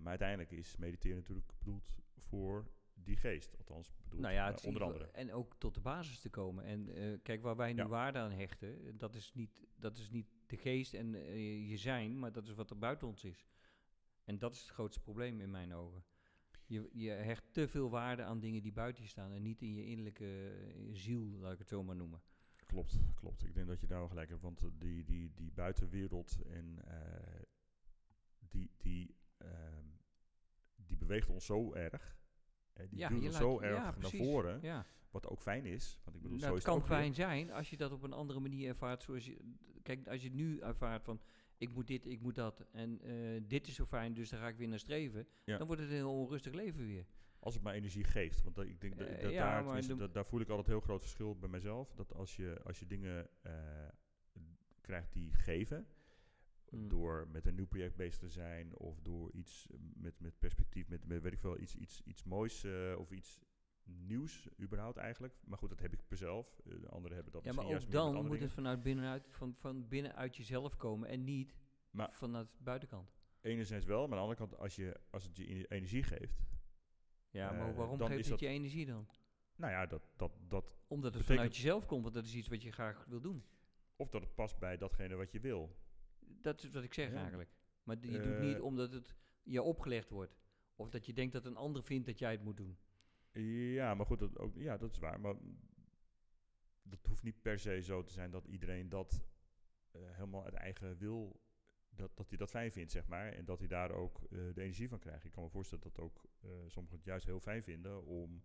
[SPEAKER 1] maar uiteindelijk is mediteren natuurlijk bedoeld voor die geest. Althans, bedoeld
[SPEAKER 2] Nou ja,
[SPEAKER 1] eh,
[SPEAKER 2] het is in
[SPEAKER 1] onder
[SPEAKER 2] ieder
[SPEAKER 1] andere.
[SPEAKER 2] geval- En ook tot de basis te komen. En eh, kijk, waar wij nu
[SPEAKER 1] Ja.
[SPEAKER 2] waarde aan hechten, eh, dat is, niet, dat is niet de geest en eh, je zijn, maar dat is wat er buiten ons is. En dat is het grootste probleem in mijn ogen. Je, je hecht te veel waarde aan dingen die buiten je staan en niet in je innerlijke eh, ziel, laat ik het zo maar noemen.
[SPEAKER 1] Klopt, klopt. Ik denk dat je daar wel gelijk hebt. Want eh, die, die, die buitenwereld en eh, die, die, ehm, die beweegt ons zo erg. Hè? Die
[SPEAKER 2] Ja,
[SPEAKER 1] duwt
[SPEAKER 2] je
[SPEAKER 1] ons
[SPEAKER 2] laat-
[SPEAKER 1] zo
[SPEAKER 2] ja,
[SPEAKER 1] erg naar
[SPEAKER 2] precies.
[SPEAKER 1] voren.
[SPEAKER 2] Ja.
[SPEAKER 1] Wat ook fijn is. Want ik bedoel, zo
[SPEAKER 2] Nou, het
[SPEAKER 1] is
[SPEAKER 2] kan
[SPEAKER 1] ook weer.
[SPEAKER 2] fijn zijn als je dat op een andere manier ervaart. Zoals je, kijk, als je het nu ervaart van ik moet dit, ik moet dat en eh, dit is zo fijn, dus daar ga ik weer naar streven.
[SPEAKER 1] Ja.
[SPEAKER 2] Dan wordt het een heel onrustig leven weer.
[SPEAKER 1] Als het maar energie geeft. Want dat- ik denk dat,
[SPEAKER 2] Eh,
[SPEAKER 1] dat
[SPEAKER 2] ja, maar
[SPEAKER 1] daar, tenminste,
[SPEAKER 2] de-
[SPEAKER 1] dat- daar voel ik altijd heel groot verschil bij mezelf. Dat als je, als je dingen eh, krijgt die geven.
[SPEAKER 2] Mm.
[SPEAKER 1] Door met een nieuw project bezig te zijn. Of door iets eh, met, met perspectief. Met, met weet ik veel, iets, iets, iets moois. eh, of iets nieuws überhaupt eigenlijk. Maar goed, dat heb ik per zelf. Eh, de anderen hebben dat
[SPEAKER 2] Ja,
[SPEAKER 1] misschien
[SPEAKER 2] maar ook
[SPEAKER 1] juist meer met
[SPEAKER 2] dan
[SPEAKER 1] andere
[SPEAKER 2] moet het
[SPEAKER 1] dingen.
[SPEAKER 2] vanuit binnenuit, van, van binnenuit jezelf komen en niet
[SPEAKER 1] Maar-
[SPEAKER 2] vanuit de buitenkant.
[SPEAKER 1] Enerzijds wel, maar aan de andere kant, als, je, als het je ener- energie geeft.
[SPEAKER 2] Ja, maar
[SPEAKER 1] Eh,
[SPEAKER 2] waarom
[SPEAKER 1] dan
[SPEAKER 2] geeft
[SPEAKER 1] is
[SPEAKER 2] het
[SPEAKER 1] dat-
[SPEAKER 2] je energie dan?
[SPEAKER 1] Nou ja, dat, dat, dat,
[SPEAKER 2] Omdat het
[SPEAKER 1] Betekent-
[SPEAKER 2] vanuit jezelf komt, want dat is iets wat je graag wil doen.
[SPEAKER 1] of dat het past bij datgene wat je wil.
[SPEAKER 2] Dat is wat ik zeg
[SPEAKER 1] Ja.
[SPEAKER 2] eigenlijk. Maar die- je
[SPEAKER 1] Eh,
[SPEAKER 2] doet niet omdat het je opgelegd wordt. Of dat je denkt dat een ander vindt dat jij het moet doen.
[SPEAKER 1] Ja, maar goed, dat, ook, ja, dat is waar. Maar dat hoeft niet per se zo te zijn dat iedereen dat eh, helemaal uit eigen wil, dat, dat hij dat fijn vindt, zeg maar. En dat hij daar ook eh, de energie van krijgt. Ik kan me voorstellen dat ook eh, sommigen het juist heel fijn vinden om,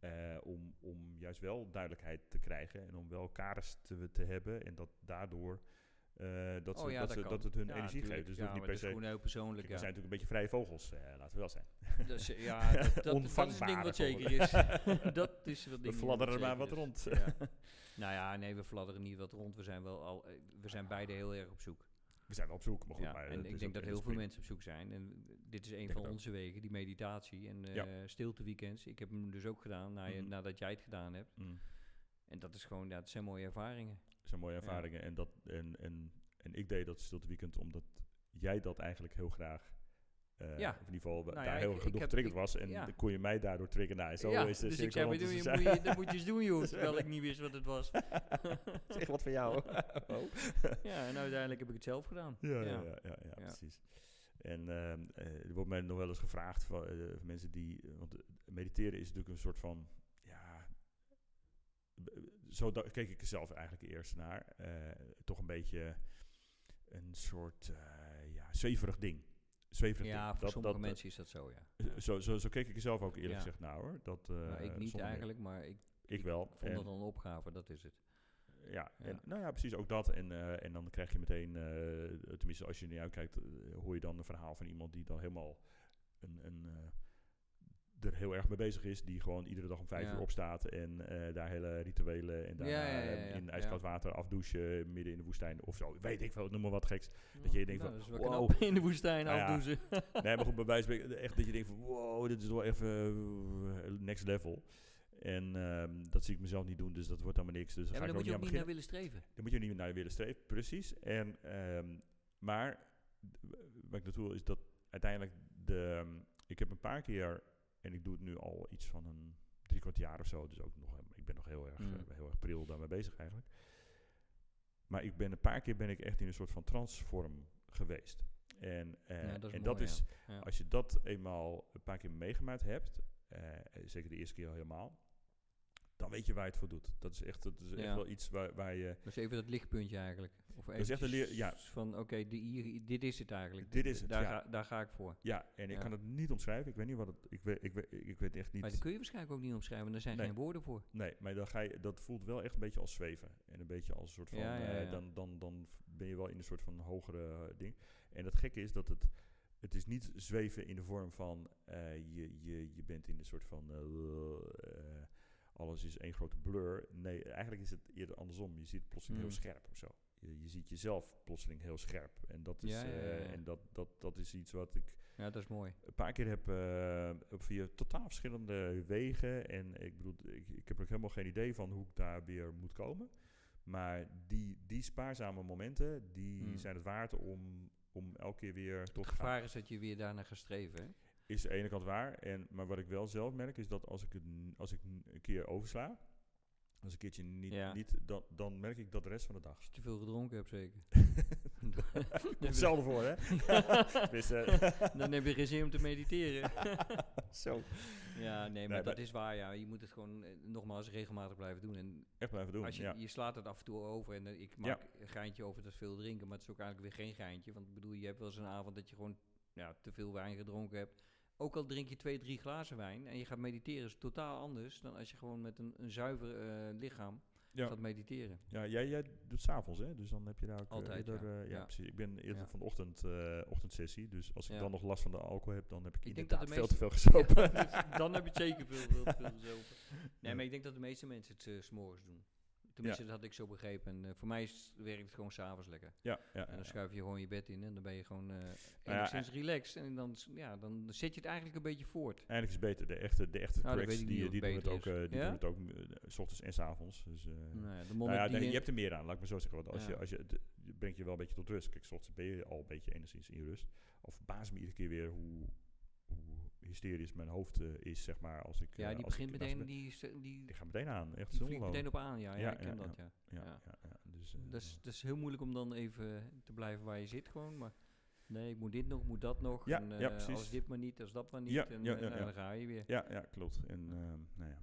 [SPEAKER 1] eh, om, om juist wel duidelijkheid te krijgen en om wel kaders te, te hebben. En dat daardoor eh, dat, ze,
[SPEAKER 2] Oh ja,
[SPEAKER 1] dat,
[SPEAKER 2] dat
[SPEAKER 1] ze,
[SPEAKER 2] kan.
[SPEAKER 1] dat het hun
[SPEAKER 2] Ja,
[SPEAKER 1] energie
[SPEAKER 2] tuurlijk.
[SPEAKER 1] geeft. Dus
[SPEAKER 2] ja,
[SPEAKER 1] dat hoeft niet per
[SPEAKER 2] maar dat is
[SPEAKER 1] se.
[SPEAKER 2] gewoon heel persoonlijk.
[SPEAKER 1] Kijk,
[SPEAKER 2] Ja.
[SPEAKER 1] we zijn natuurlijk een beetje vrije vogels, eh, laten we wel zijn.
[SPEAKER 2] Dus, eh, ja, dat, dat, dat is een ding
[SPEAKER 1] Onvangbare
[SPEAKER 2] wat zeker is. dat is wat
[SPEAKER 1] We
[SPEAKER 2] ding
[SPEAKER 1] fladderen
[SPEAKER 2] wat
[SPEAKER 1] maar
[SPEAKER 2] zeker
[SPEAKER 1] wat
[SPEAKER 2] is.
[SPEAKER 1] rond.
[SPEAKER 2] Ja. Nou ja, nee, we fladderen niet wat rond. We zijn, wel al, eh, we zijn beide heel erg op zoek.
[SPEAKER 1] We zijn wel op zoek, maar goed.
[SPEAKER 2] ja,
[SPEAKER 1] maar
[SPEAKER 2] en
[SPEAKER 1] het
[SPEAKER 2] ik
[SPEAKER 1] is
[SPEAKER 2] denk
[SPEAKER 1] ook-
[SPEAKER 2] dat
[SPEAKER 1] het
[SPEAKER 2] heel
[SPEAKER 1] is
[SPEAKER 2] veel
[SPEAKER 1] prima.
[SPEAKER 2] mensen op zoek zijn. En eh, dit is een
[SPEAKER 1] denk
[SPEAKER 2] van
[SPEAKER 1] het ook.
[SPEAKER 2] onze wegen, die meditatie en eh
[SPEAKER 1] Ja.
[SPEAKER 2] stilteweekends. Ik heb hem dus ook gedaan na je-
[SPEAKER 1] Mhm.
[SPEAKER 2] nadat jij het gedaan hebt.
[SPEAKER 1] Mm.
[SPEAKER 2] En dat is gewoon, ja, dat zijn mooie ervaringen.
[SPEAKER 1] Dat zijn mooie ervaringen. En, dat, en, en, en ik deed dat stilte weekend omdat jij dat eigenlijk heel graag... eh,
[SPEAKER 2] Ja.
[SPEAKER 1] Of in ieder geval we-
[SPEAKER 2] Nou ja,
[SPEAKER 1] daar
[SPEAKER 2] ik-
[SPEAKER 1] heel
[SPEAKER 2] ik
[SPEAKER 1] erg door
[SPEAKER 2] heb-
[SPEAKER 1] getriggerd
[SPEAKER 2] ik-
[SPEAKER 1] was. En
[SPEAKER 2] ja.
[SPEAKER 1] dan kon je mij daardoor triggeren. Nou, zo
[SPEAKER 2] ja,
[SPEAKER 1] is de
[SPEAKER 2] dus ik
[SPEAKER 1] cirkel
[SPEAKER 2] zei,
[SPEAKER 1] rond
[SPEAKER 2] moet
[SPEAKER 1] tussen
[SPEAKER 2] je,
[SPEAKER 1] zijn.
[SPEAKER 2] moet je, dat moet je eens doen joh, terwijl ik niet wist wat het was.
[SPEAKER 1] Dat is echt wat voor jou. Oh.
[SPEAKER 2] Ja, en uiteindelijk heb ik het zelf gedaan.
[SPEAKER 1] ja, ja, ja, ja, ja,
[SPEAKER 2] Ja.
[SPEAKER 1] precies. En ehm, eh, er wordt mij nog wel eens gevraagd van eh, van mensen die... eh, Want eh, mediteren is natuurlijk een soort van... Ja, b- zo da- keek ik er zelf eigenlijk eerst naar. Eh, toch een beetje een soort eh, ja, zweverig ding. Zweverig
[SPEAKER 2] Ja,
[SPEAKER 1] ding.
[SPEAKER 2] voor
[SPEAKER 1] Dat-
[SPEAKER 2] sommige
[SPEAKER 1] dat, eh,
[SPEAKER 2] mensen is dat zo, ja. Ja.
[SPEAKER 1] Zo, zo, zo keek ik er zelf ook eerlijk
[SPEAKER 2] Ja.
[SPEAKER 1] gezegd naar hoor. Dat, eh,
[SPEAKER 2] Nou, ik niet
[SPEAKER 1] zonder meer.
[SPEAKER 2] eigenlijk, maar ik
[SPEAKER 1] Ik wel.
[SPEAKER 2] vond
[SPEAKER 1] En-
[SPEAKER 2] dat een opgave, dat is het.
[SPEAKER 1] ja, en,
[SPEAKER 2] Ja.
[SPEAKER 1] nou ja, precies ook dat. En, eh, en dan krijg je meteen, eh, tenminste als je er naar uitkijkt, eh, hoor je dan een verhaal van iemand die dan helemaal een, een, eh, er heel erg mee bezig is. Die gewoon iedere dag om vijf
[SPEAKER 2] Ja.
[SPEAKER 1] uur opstaat en eh, daar hele rituelen en
[SPEAKER 2] Ja,
[SPEAKER 1] daarna
[SPEAKER 2] ja, ja,
[SPEAKER 1] eh,
[SPEAKER 2] ja,
[SPEAKER 1] in
[SPEAKER 2] ja.
[SPEAKER 1] ijskoud water afdouchen midden in de woestijn of zo. Weet ik veel, noem maar wat geks.
[SPEAKER 2] Nou,
[SPEAKER 1] je denkt
[SPEAKER 2] nou,
[SPEAKER 1] van,
[SPEAKER 2] dat is wel
[SPEAKER 1] wow.
[SPEAKER 2] knap, in de woestijn
[SPEAKER 1] Nou ja,
[SPEAKER 2] afdoezen.
[SPEAKER 1] Nee, maar goed, bij wijze van spreken, echt dat je denkt van wow, dit is wel even eh, next level. En ehm, dat zie ik mezelf niet doen, dus dat wordt allemaal niks. Dus daar
[SPEAKER 2] Ja,
[SPEAKER 1] ga
[SPEAKER 2] maar
[SPEAKER 1] ik
[SPEAKER 2] daar
[SPEAKER 1] ook
[SPEAKER 2] moet
[SPEAKER 1] niet
[SPEAKER 2] je
[SPEAKER 1] aan
[SPEAKER 2] ook niet
[SPEAKER 1] beginnen.
[SPEAKER 2] naar willen streven.
[SPEAKER 1] Daar moet je niet naar willen streven, precies. En, ehm, maar d- waar ik naartoe wil is dat uiteindelijk de... ehm, ik heb een paar keer, en ik doe het nu al iets van een drie kwart jaar of zo, dus ook nog, ik ben nog heel erg,
[SPEAKER 2] Mm.
[SPEAKER 1] eh, heel erg pril daarmee bezig eigenlijk. Maar ik ben een paar keer ben ik echt in een soort van transvorm geweest. En, eh,
[SPEAKER 2] Ja, dat is
[SPEAKER 1] en
[SPEAKER 2] mooi,
[SPEAKER 1] dat is,
[SPEAKER 2] ja. Ja.
[SPEAKER 1] als je dat eenmaal een paar keer meegemaakt hebt, eh, zeker de eerste keer al helemaal, dan weet je waar je het voor doet. Dat is echt, dat is echt
[SPEAKER 2] Ja.
[SPEAKER 1] wel iets waar, waar je...
[SPEAKER 2] Dus even dat lichtpuntje eigenlijk. Of
[SPEAKER 1] is echt een leer-
[SPEAKER 2] eventjes
[SPEAKER 1] ja.
[SPEAKER 2] Van oké, die hier- dit is het eigenlijk.
[SPEAKER 1] Dit is het,
[SPEAKER 2] daar,
[SPEAKER 1] ja.
[SPEAKER 2] ga, daar ga ik voor.
[SPEAKER 1] Ja, en ik
[SPEAKER 2] Ja.
[SPEAKER 1] kan het niet omschrijven. Ik weet niet wat het... Ik weet, ik weet, ik weet echt niet...
[SPEAKER 2] Maar dat kun je waarschijnlijk ook niet omschrijven, want er zijn
[SPEAKER 1] Nee.
[SPEAKER 2] geen woorden voor.
[SPEAKER 1] Nee, maar dan ga je, dat voelt wel echt een beetje als zweven. En een beetje als een soort van...
[SPEAKER 2] Ja, ja,
[SPEAKER 1] eh,
[SPEAKER 2] ja.
[SPEAKER 1] dan, dan, dan ben je wel in een soort van hogere eh, ding. En het gekke is dat het... Het is niet zweven in de vorm van... eh, je, je, je bent in een soort van... eh, eh, alles is één grote blur. Nee, eigenlijk is het eerder andersom. Je ziet het plotseling
[SPEAKER 2] Mm.
[SPEAKER 1] heel scherp of zo. Je, je ziet jezelf plotseling heel scherp. En dat is,
[SPEAKER 2] Ja, ja, ja,
[SPEAKER 1] eh,
[SPEAKER 2] ja.
[SPEAKER 1] En dat, dat, dat is iets wat ik
[SPEAKER 2] Ja, dat is mooi.
[SPEAKER 1] een paar keer heb eh, op via totaal verschillende wegen. En ik bedoel, ik, ik heb ook helemaal geen idee van hoe ik daar weer moet komen. Maar die, die spaarzame momenten, die
[SPEAKER 2] Hmm.
[SPEAKER 1] zijn het waard om, om elke keer weer tot
[SPEAKER 2] Het
[SPEAKER 1] te gaan.
[SPEAKER 2] gevaar is dat je weer daarna gaat streven. hè?
[SPEAKER 1] Is aan de ene kant waar. En, maar wat ik wel zelf merk, is dat als ik, het, n- als ik n- een keer oversla, als ik een keertje niet,
[SPEAKER 2] Ja.
[SPEAKER 1] niet dan, dan merk ik dat de rest van de dag.
[SPEAKER 2] Als je te veel gedronken hebt, zeker.
[SPEAKER 1] Hetzelfde voor, hè? Tenminste, eh,
[SPEAKER 2] Dan heb je geen zin om te mediteren.
[SPEAKER 1] Zo.
[SPEAKER 2] ja, nee, maar
[SPEAKER 1] maar-
[SPEAKER 2] dat is waar. Ja. Je moet het gewoon eh, nogmaals regelmatig blijven doen. En
[SPEAKER 1] Echt blijven doen.
[SPEAKER 2] Als je,
[SPEAKER 1] ja.
[SPEAKER 2] je slaat het af en toe over. En eh, ik maak een geintje over dat veel drinken. Maar het is ook eigenlijk weer geen geintje. Want ik bedoel, je hebt wel eens een avond dat je gewoon ja, te veel wijn gedronken hebt. Ook al drink je twee, drie glazen wijn. En je gaat mediteren. is totaal anders dan als je gewoon met een, een zuiver eh, lichaam
[SPEAKER 1] Ja.
[SPEAKER 2] gaat mediteren.
[SPEAKER 1] Ja, jij, jij doet s'avonds, hè? Dus dan heb je daar ook eh,
[SPEAKER 2] Altijd,
[SPEAKER 1] eerder...
[SPEAKER 2] ja.
[SPEAKER 1] eh, ja,
[SPEAKER 2] Ja.
[SPEAKER 1] precies. Ik ben eerder
[SPEAKER 2] Ja.
[SPEAKER 1] van de ochtend, eh, ochtendsessie. Dus als ik
[SPEAKER 2] Ja.
[SPEAKER 1] dan nog last van de alcohol heb, dan heb ik,
[SPEAKER 2] Ik denk dat
[SPEAKER 1] inderdaad
[SPEAKER 2] de
[SPEAKER 1] veel te veel
[SPEAKER 2] Ja,
[SPEAKER 1] gesopen.
[SPEAKER 2] dus dan heb je het zeker veel, veel, veel gezopen. Nee,
[SPEAKER 1] Ja.
[SPEAKER 2] maar ik denk dat de meeste mensen het eh, s s'morgens doen. Tenminste, dat had ik zo begrepen. En eh, voor mij is- werkt het gewoon s'avonds lekker.
[SPEAKER 1] Ja, ja,
[SPEAKER 2] En
[SPEAKER 1] ja, Nou
[SPEAKER 2] dan schuif je gewoon je bed in en dan ben je gewoon eh
[SPEAKER 1] ja,
[SPEAKER 2] enigszins relaxed. En dan, s- ja, dan zet je het eigenlijk een beetje voort.
[SPEAKER 1] Eigenlijk is het beter. De echte, de echte
[SPEAKER 2] Nou, dat
[SPEAKER 1] cracks,
[SPEAKER 2] weet ik niet
[SPEAKER 1] die,
[SPEAKER 2] of
[SPEAKER 1] die, doen
[SPEAKER 2] het
[SPEAKER 1] het ook,
[SPEAKER 2] beter is.
[SPEAKER 1] eh, die
[SPEAKER 2] Ja?
[SPEAKER 1] doen het ook eh, s ochtends en s avonds. Dus, eh,
[SPEAKER 2] Nou ja, de
[SPEAKER 1] nou
[SPEAKER 2] monnik
[SPEAKER 1] ja,
[SPEAKER 2] die
[SPEAKER 1] nee,
[SPEAKER 2] in-
[SPEAKER 1] je hebt er meer aan, laat ik maar zo zeggen. Want als
[SPEAKER 2] Ja.
[SPEAKER 1] je, als je, het- je brengt je wel een beetje tot rust. Kijk, s ochtends ben je al een beetje enigszins in rust. Al verbaast me iedere keer weer hoe, hoe hysterisch mijn hoofd eh, is, zeg maar. Als ik,
[SPEAKER 2] Ja,
[SPEAKER 1] eh,
[SPEAKER 2] die
[SPEAKER 1] als ik
[SPEAKER 2] begint
[SPEAKER 1] naast
[SPEAKER 2] meteen,
[SPEAKER 1] ben-
[SPEAKER 2] die, is- die,
[SPEAKER 1] Die gaat meteen aan, echt
[SPEAKER 2] die
[SPEAKER 1] zo
[SPEAKER 2] vliegt meteen op aan. Ja, ja,
[SPEAKER 1] Ja,
[SPEAKER 2] ik ken
[SPEAKER 1] ja, Eh,
[SPEAKER 2] dat, ja.
[SPEAKER 1] Ja,
[SPEAKER 2] ja.
[SPEAKER 1] ja. ja, dus, eh,
[SPEAKER 2] Dat, is, dat is heel moeilijk om dan even eh, te blijven waar je zit gewoon, maar... Nee, ik moet dit nog, ik moet dat nog.
[SPEAKER 1] Ja,
[SPEAKER 2] en,
[SPEAKER 1] ja,
[SPEAKER 2] eh, Als
[SPEAKER 1] precies.
[SPEAKER 2] dit maar niet, als dat maar niet.
[SPEAKER 1] Ja,
[SPEAKER 2] en
[SPEAKER 1] ja,
[SPEAKER 2] eh,
[SPEAKER 1] ja,
[SPEAKER 2] nou,
[SPEAKER 1] ja.
[SPEAKER 2] dan ga je weer.
[SPEAKER 1] Ja, ja, klopt. En, ehm, nou ja.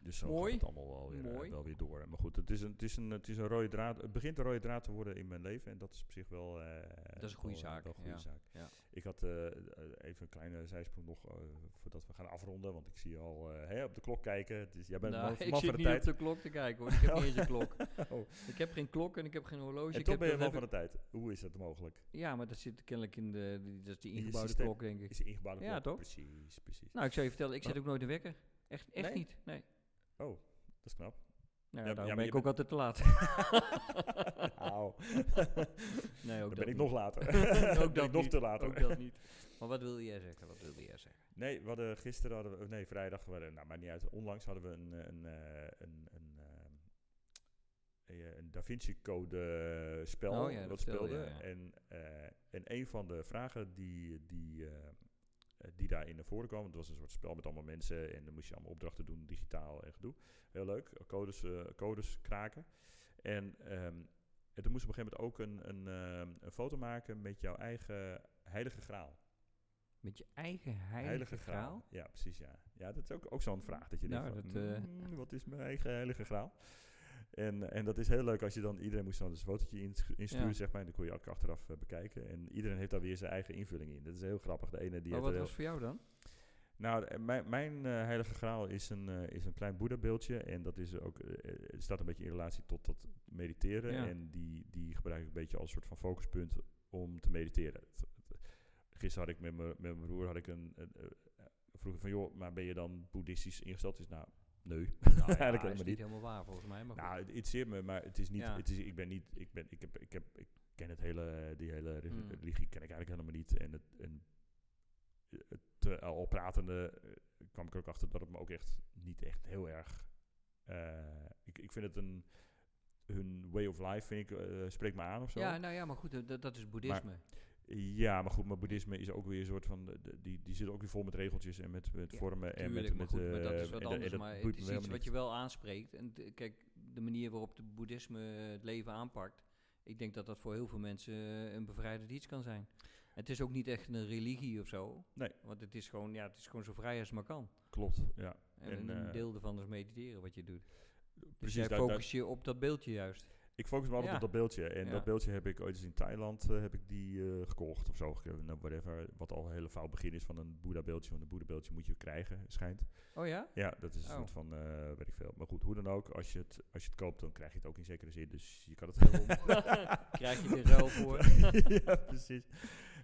[SPEAKER 1] Dus zo
[SPEAKER 2] Mooi.
[SPEAKER 1] gaat het allemaal wel weer, eh,
[SPEAKER 2] Mooi.
[SPEAKER 1] wel weer door. Maar goed, het, is een, het, is een, het, is een rode draad, het begint een rode draad te worden in mijn leven. En dat is op zich wel... eh,
[SPEAKER 2] Dat is een goede
[SPEAKER 1] wel, eh,
[SPEAKER 2] zaak,
[SPEAKER 1] wel een goede
[SPEAKER 2] ja.
[SPEAKER 1] zaak.
[SPEAKER 2] Ja.
[SPEAKER 1] Ik had eh, eh, even een kleine zijsprong nog eh, voordat we gaan afronden. Want ik zie je al eh, hè, op de klok kijken. Het is- jij bent
[SPEAKER 2] Nou,
[SPEAKER 1] een man,
[SPEAKER 2] ik
[SPEAKER 1] man van
[SPEAKER 2] zit
[SPEAKER 1] de
[SPEAKER 2] niet op
[SPEAKER 1] tijd.
[SPEAKER 2] de klok te kijken hoor. Ik heb niet eens een klok.
[SPEAKER 1] Oh.
[SPEAKER 2] Ik heb geen klok en ik heb geen horloge.
[SPEAKER 1] En
[SPEAKER 2] ik
[SPEAKER 1] toch
[SPEAKER 2] heb
[SPEAKER 1] ben je
[SPEAKER 2] dat
[SPEAKER 1] man
[SPEAKER 2] heb
[SPEAKER 1] van de tijd. Hoe is dat mogelijk?
[SPEAKER 2] ik- Ja, maar dat zit kennelijk in de... die- dat is die
[SPEAKER 1] In je
[SPEAKER 2] ingebouwde
[SPEAKER 1] systeem.
[SPEAKER 2] klok, denk ik.
[SPEAKER 1] Is ingebouwde
[SPEAKER 2] Ja,
[SPEAKER 1] klok?
[SPEAKER 2] toch?
[SPEAKER 1] Precies, precies.
[SPEAKER 2] Nou, ik zou je vertellen, ik zet
[SPEAKER 1] Maar-
[SPEAKER 2] ook nooit een wekker. Echt, echt
[SPEAKER 1] Nee?
[SPEAKER 2] niet, nee.
[SPEAKER 1] Oh, dat is knap.
[SPEAKER 2] Nou,
[SPEAKER 1] Ja,
[SPEAKER 2] ja,
[SPEAKER 1] maar-
[SPEAKER 2] daarom
[SPEAKER 1] ja, maar
[SPEAKER 2] ben
[SPEAKER 1] je
[SPEAKER 2] ik ook altijd te laat.
[SPEAKER 1] Nou,
[SPEAKER 2] nee, ook
[SPEAKER 1] dan
[SPEAKER 2] dat
[SPEAKER 1] ben ik
[SPEAKER 2] niet.
[SPEAKER 1] nog later.
[SPEAKER 2] Ook
[SPEAKER 1] Ben
[SPEAKER 2] dat
[SPEAKER 1] ik nog
[SPEAKER 2] niet,
[SPEAKER 1] te later.
[SPEAKER 2] Ook dat niet. Maar wat wilde jij zeggen? Wat wilde jij zeggen?
[SPEAKER 1] Nee, we hadden gisteren hadden we, oh nee, vrijdag, we hadden, nou, maar niet uit. Onlangs hadden we een, eh, een, eh, een, een, eh, eh, een Da Vinci Code eh, spel
[SPEAKER 2] Oh ja, dat
[SPEAKER 1] dat
[SPEAKER 2] vertelde
[SPEAKER 1] speelde.
[SPEAKER 2] je, ja.
[SPEAKER 1] En, eh, en een van de vragen die, die, eh, eh, die daarin naar voren kwam, het was een soort spel met allemaal mensen en dan moest je allemaal opdrachten doen, digitaal en gedoe. Heel leuk, codes, eh, codes kraken. En, ehm, en toen moest je op een gegeven moment ook een, een, ehm, een foto maken met jouw eigen heilige graal.
[SPEAKER 2] Met je eigen heilige, graal?
[SPEAKER 1] Ja, precies, ja. Ja, dat is ook, ook zo'n vraag dat je
[SPEAKER 2] Nou,
[SPEAKER 1] denkt van,
[SPEAKER 2] dat, eh,
[SPEAKER 1] "Mm, wat is mijn eigen heilige graal? En, en dat is heel leuk als je dan, iedereen moest dan dus een fotootje insch- insturen,
[SPEAKER 2] Ja.
[SPEAKER 1] zeg maar, en dan kon je ook achteraf eh, bekijken. En iedereen heeft daar weer zijn eigen invulling in. Dat is heel grappig. De ene die
[SPEAKER 2] Maar
[SPEAKER 1] heeft
[SPEAKER 2] Oh, wat
[SPEAKER 1] er
[SPEAKER 2] was voor jou dan?
[SPEAKER 1] nou, eh, mijn, mijn eh, heilige graal is een, eh, is een klein boeddha-beeldje. En dat is ook, eh, eh, het staat een beetje in relatie tot dat mediteren.
[SPEAKER 2] Ja.
[SPEAKER 1] En die, die gebruik ik een beetje als soort van focuspunt om te mediteren. Het- het- Gisteren had ik met mijn met mijn broer had ik een, een, eh, vroeg ik van, joh, maar ben je dan boeddhistisch ingesteld? Is nou, nee.
[SPEAKER 2] Nou,
[SPEAKER 1] Eigenlijk
[SPEAKER 2] dat
[SPEAKER 1] helemaal
[SPEAKER 2] is niet
[SPEAKER 1] niet.
[SPEAKER 2] helemaal waar volgens mij. Maar
[SPEAKER 1] Nou,
[SPEAKER 2] goed.
[SPEAKER 1] het interesseert me, maar het is niet,
[SPEAKER 2] Ja.
[SPEAKER 1] het is, ik ben niet, ik ben, ik heb, ik heb, ik ken het hele, die hele re-
[SPEAKER 2] Mm.
[SPEAKER 1] religie ken ik eigenlijk helemaal niet. En het, en het eh, al pratende eh, kwam ik er ook achter dat het me ook echt niet echt heel erg, eh, ik, ik vind het een, hun way of life vind ik, eh, spreekt me aan of zo.
[SPEAKER 2] ja, nou ja, maar goed, eh, dat, dat is boeddhisme.
[SPEAKER 1] Ja, maar goed, maar boeddhisme is ook weer een soort van, de- de- die, die zit ook weer vol met regeltjes en met, met
[SPEAKER 2] Ja,
[SPEAKER 1] vormen en
[SPEAKER 2] Tuurlijk,
[SPEAKER 1] met,
[SPEAKER 2] maar
[SPEAKER 1] met
[SPEAKER 2] goed, maar dat
[SPEAKER 1] eh,
[SPEAKER 2] is wat
[SPEAKER 1] en dat- en
[SPEAKER 2] anders.
[SPEAKER 1] dat
[SPEAKER 2] maar
[SPEAKER 1] boeit
[SPEAKER 2] het
[SPEAKER 1] me
[SPEAKER 2] is
[SPEAKER 1] helemaal
[SPEAKER 2] iets wat
[SPEAKER 1] niet.
[SPEAKER 2] je wel aanspreekt. En t- kijk, de manier waarop de boeddhisme het leven aanpakt... Ik denk dat dat voor heel veel mensen eh, een bevrijdend iets kan zijn. Het is ook niet echt een religie of zo.
[SPEAKER 1] Nee.
[SPEAKER 2] Want het is gewoon, ja, het is gewoon zo vrij als het maar kan.
[SPEAKER 1] Klopt, ja.
[SPEAKER 2] En,
[SPEAKER 1] En,
[SPEAKER 2] een
[SPEAKER 1] eh,
[SPEAKER 2] deel ervan is mediteren wat je doet. Dus
[SPEAKER 1] Precies,
[SPEAKER 2] jij
[SPEAKER 1] daar- daar-
[SPEAKER 2] focus je op dat beeldje juist.
[SPEAKER 1] Ik focus me altijd
[SPEAKER 2] Ja.
[SPEAKER 1] op dat beeldje. En
[SPEAKER 2] Ja.
[SPEAKER 1] dat beeldje heb ik ooit eens in Thailand eh, heb ik die, eh, gekocht of zo. ge- nou, Whatever, wat al een hele fout begin is van een Boeddha beeldje. Want een Boeddha beeldje moet je krijgen, schijnt.
[SPEAKER 2] Oh ja?
[SPEAKER 1] Ja, dat is een
[SPEAKER 2] Oh.
[SPEAKER 1] soort van, eh weet ik veel. Maar goed, hoe dan ook, als je, het, als je het koopt, dan krijg je het ook in zekere zin. Dus je kan het
[SPEAKER 2] Daarom. Krijg je het in ruil voor.
[SPEAKER 1] ja, precies.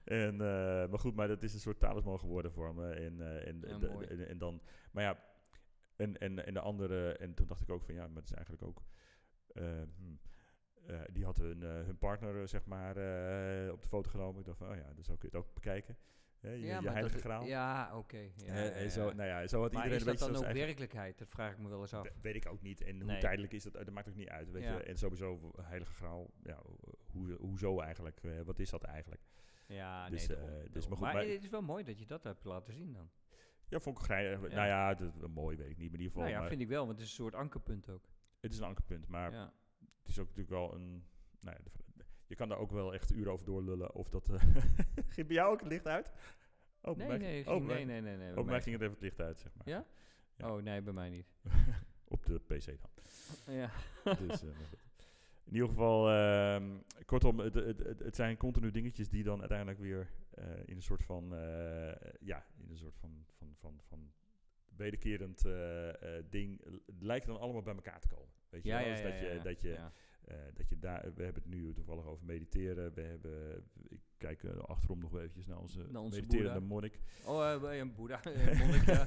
[SPEAKER 1] En, eh, maar goed, maar dat is een soort talisman geworden voor me. En, eh, en,
[SPEAKER 2] Ja,
[SPEAKER 1] de-
[SPEAKER 2] mooi.
[SPEAKER 1] en, en dan, maar ja, en, en, en de andere, en toen dacht ik ook van ja, maar het is eigenlijk ook. eh, hmm, eh, die had hun, eh, hun partner, eh, zeg maar, eh, op de foto genomen. Ik dacht van, oh ja, dan zou ik het ook bekijken. Hè, je, je
[SPEAKER 2] maar
[SPEAKER 1] heilige
[SPEAKER 2] dat-
[SPEAKER 1] graal.
[SPEAKER 2] Ja, oké. ja,
[SPEAKER 1] Hè,
[SPEAKER 2] ja,
[SPEAKER 1] en
[SPEAKER 2] ja.
[SPEAKER 1] zo, nou ja, zo had
[SPEAKER 2] maar
[SPEAKER 1] iedereen
[SPEAKER 2] is
[SPEAKER 1] een
[SPEAKER 2] dat
[SPEAKER 1] beetje
[SPEAKER 2] dan ook
[SPEAKER 1] zijn eigen-
[SPEAKER 2] werkelijkheid? Dat vraag ik me wel eens af.
[SPEAKER 1] We- Weet ik ook niet. En hoe
[SPEAKER 2] Nee.
[SPEAKER 1] tijdelijk is dat, Eh, dat maakt ook niet uit. Weet
[SPEAKER 2] Ja.
[SPEAKER 1] je? En sowieso, w- heilige graal, ja, hoe, hoezo eigenlijk? eh, wat is dat eigenlijk?
[SPEAKER 2] Ja,
[SPEAKER 1] Dus,
[SPEAKER 2] nee,
[SPEAKER 1] eh,
[SPEAKER 2] daarom,
[SPEAKER 1] dus
[SPEAKER 2] daarom.
[SPEAKER 1] maar goed,
[SPEAKER 2] maar
[SPEAKER 1] maar-
[SPEAKER 2] het is wel mooi dat je dat hebt laten zien dan.
[SPEAKER 1] Ja, vond ik grijnig.
[SPEAKER 2] Ja.
[SPEAKER 1] Nou ja, dat, mooi weet ik niet. Maar in ieder geval,
[SPEAKER 2] Nou ja,
[SPEAKER 1] maar
[SPEAKER 2] vind ik wel, want het is een soort ankerpunt ook.
[SPEAKER 1] het is een ankerpunt. Maar
[SPEAKER 2] Ja.
[SPEAKER 1] het is ook natuurlijk wel een... Nou ja, de- je kan daar ook wel echt uren over doorlullen. Of dat... eh ging bij jou ook het licht uit? Oh, bij
[SPEAKER 2] Nee,
[SPEAKER 1] mij
[SPEAKER 2] nee,
[SPEAKER 1] ging-
[SPEAKER 2] ging,
[SPEAKER 1] oh, bij-
[SPEAKER 2] nee, nee, nee, nee.
[SPEAKER 1] oh,
[SPEAKER 2] bij
[SPEAKER 1] bij mij
[SPEAKER 2] mij-
[SPEAKER 1] ging het even het licht uit, zeg maar.
[SPEAKER 2] Ja?
[SPEAKER 1] ja.
[SPEAKER 2] Oh, nee, bij mij niet.
[SPEAKER 1] Op de pc dan.
[SPEAKER 2] Ja.
[SPEAKER 1] dus, eh, maar goed. In ieder geval, ehm, kortom, het, het, het, het zijn continu dingetjes die dan uiteindelijk weer eh, in een soort van, eh, ja, in een soort van, van, van, van wederkerend eh, eh, ding, l- lijken dan allemaal bij elkaar te komen. Weet je
[SPEAKER 2] Ja,
[SPEAKER 1] wel?
[SPEAKER 2] ja,
[SPEAKER 1] Dus
[SPEAKER 2] ja,
[SPEAKER 1] dat je,
[SPEAKER 2] ja,
[SPEAKER 1] dat je,
[SPEAKER 2] ja.
[SPEAKER 1] eh, dat je daar, we hebben het nu toevallig over mediteren, we hebben, ik kijk eh, achterom nog wel eventjes naar onze,
[SPEAKER 2] Naar onze
[SPEAKER 1] mediterende
[SPEAKER 2] Boeddha.
[SPEAKER 1] monnik.
[SPEAKER 2] Oh, eh, bij een boeddha, eh, monnik, ja.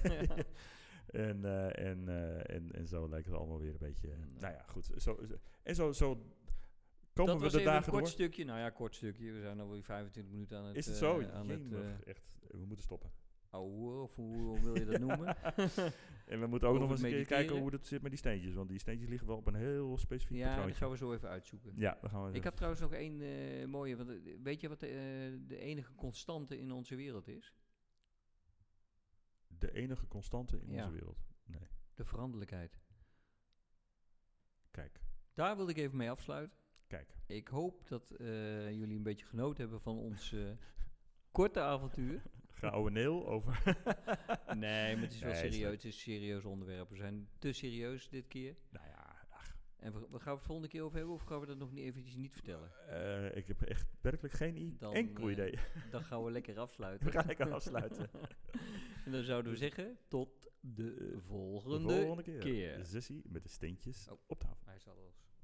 [SPEAKER 1] En, eh, en, eh, en, en zo lijkt het allemaal weer een beetje.
[SPEAKER 2] Ja.
[SPEAKER 1] Nou ja, goed. Zo, zo- en zo, zo komen
[SPEAKER 2] dat
[SPEAKER 1] we
[SPEAKER 2] was
[SPEAKER 1] de
[SPEAKER 2] even een
[SPEAKER 1] dagen
[SPEAKER 2] kort
[SPEAKER 1] door.
[SPEAKER 2] stukje. Nou ja, kort stukje. We zijn alweer 25 minuten aan het...
[SPEAKER 1] Is het
[SPEAKER 2] eh,
[SPEAKER 1] zo?
[SPEAKER 2] aan het,
[SPEAKER 1] Jemig,
[SPEAKER 2] eh,
[SPEAKER 1] echt. We moeten stoppen.
[SPEAKER 2] ouwe, of hoe, hoe wil je dat noemen?
[SPEAKER 1] En we moeten ook
[SPEAKER 2] Over
[SPEAKER 1] nog eens een keer
[SPEAKER 2] mediteren.
[SPEAKER 1] kijken hoe het zit met die steentjes. Want die steentjes liggen wel op een heel specifiek
[SPEAKER 2] ja, dat
[SPEAKER 1] patroontje.
[SPEAKER 2] gaan we zo even uitzoeken.
[SPEAKER 1] Ja, dan gaan we
[SPEAKER 2] Ik had trouwens nog één eh, mooie. Want eh, weet je wat de, eh, de enige constante in onze wereld is?
[SPEAKER 1] de enige constante in
[SPEAKER 2] Ja.
[SPEAKER 1] onze wereld. Nee,
[SPEAKER 2] De veranderlijkheid.
[SPEAKER 1] kijk,
[SPEAKER 2] Daar wilde ik even mee afsluiten.
[SPEAKER 1] kijk.
[SPEAKER 2] Ik hoop dat eh, jullie een beetje genoten hebben van ons eh, korte avontuur.
[SPEAKER 1] Gouden neel over...
[SPEAKER 2] Nee, maar het is wel
[SPEAKER 1] Nee, is
[SPEAKER 2] serieus.
[SPEAKER 1] leuk.
[SPEAKER 2] Het is een serieus onderwerp. We zijn te serieus dit keer.
[SPEAKER 1] nou ja,
[SPEAKER 2] En we, we gaan het volgende keer over hebben of gaan we dat nog niet eventjes niet vertellen?
[SPEAKER 1] eh, ik heb echt werkelijk geen i-
[SPEAKER 2] Dan,
[SPEAKER 1] enkel
[SPEAKER 2] eh,
[SPEAKER 1] idee.
[SPEAKER 2] Dan gaan we lekker afsluiten.
[SPEAKER 1] We gaan lekker afsluiten.
[SPEAKER 2] en dan zouden we zeggen tot de volgende,
[SPEAKER 1] De volgende keer.
[SPEAKER 2] keer.
[SPEAKER 1] Sissy met de steentjes
[SPEAKER 2] Oh.
[SPEAKER 1] op tafel.
[SPEAKER 2] Hij zal ons. Oh,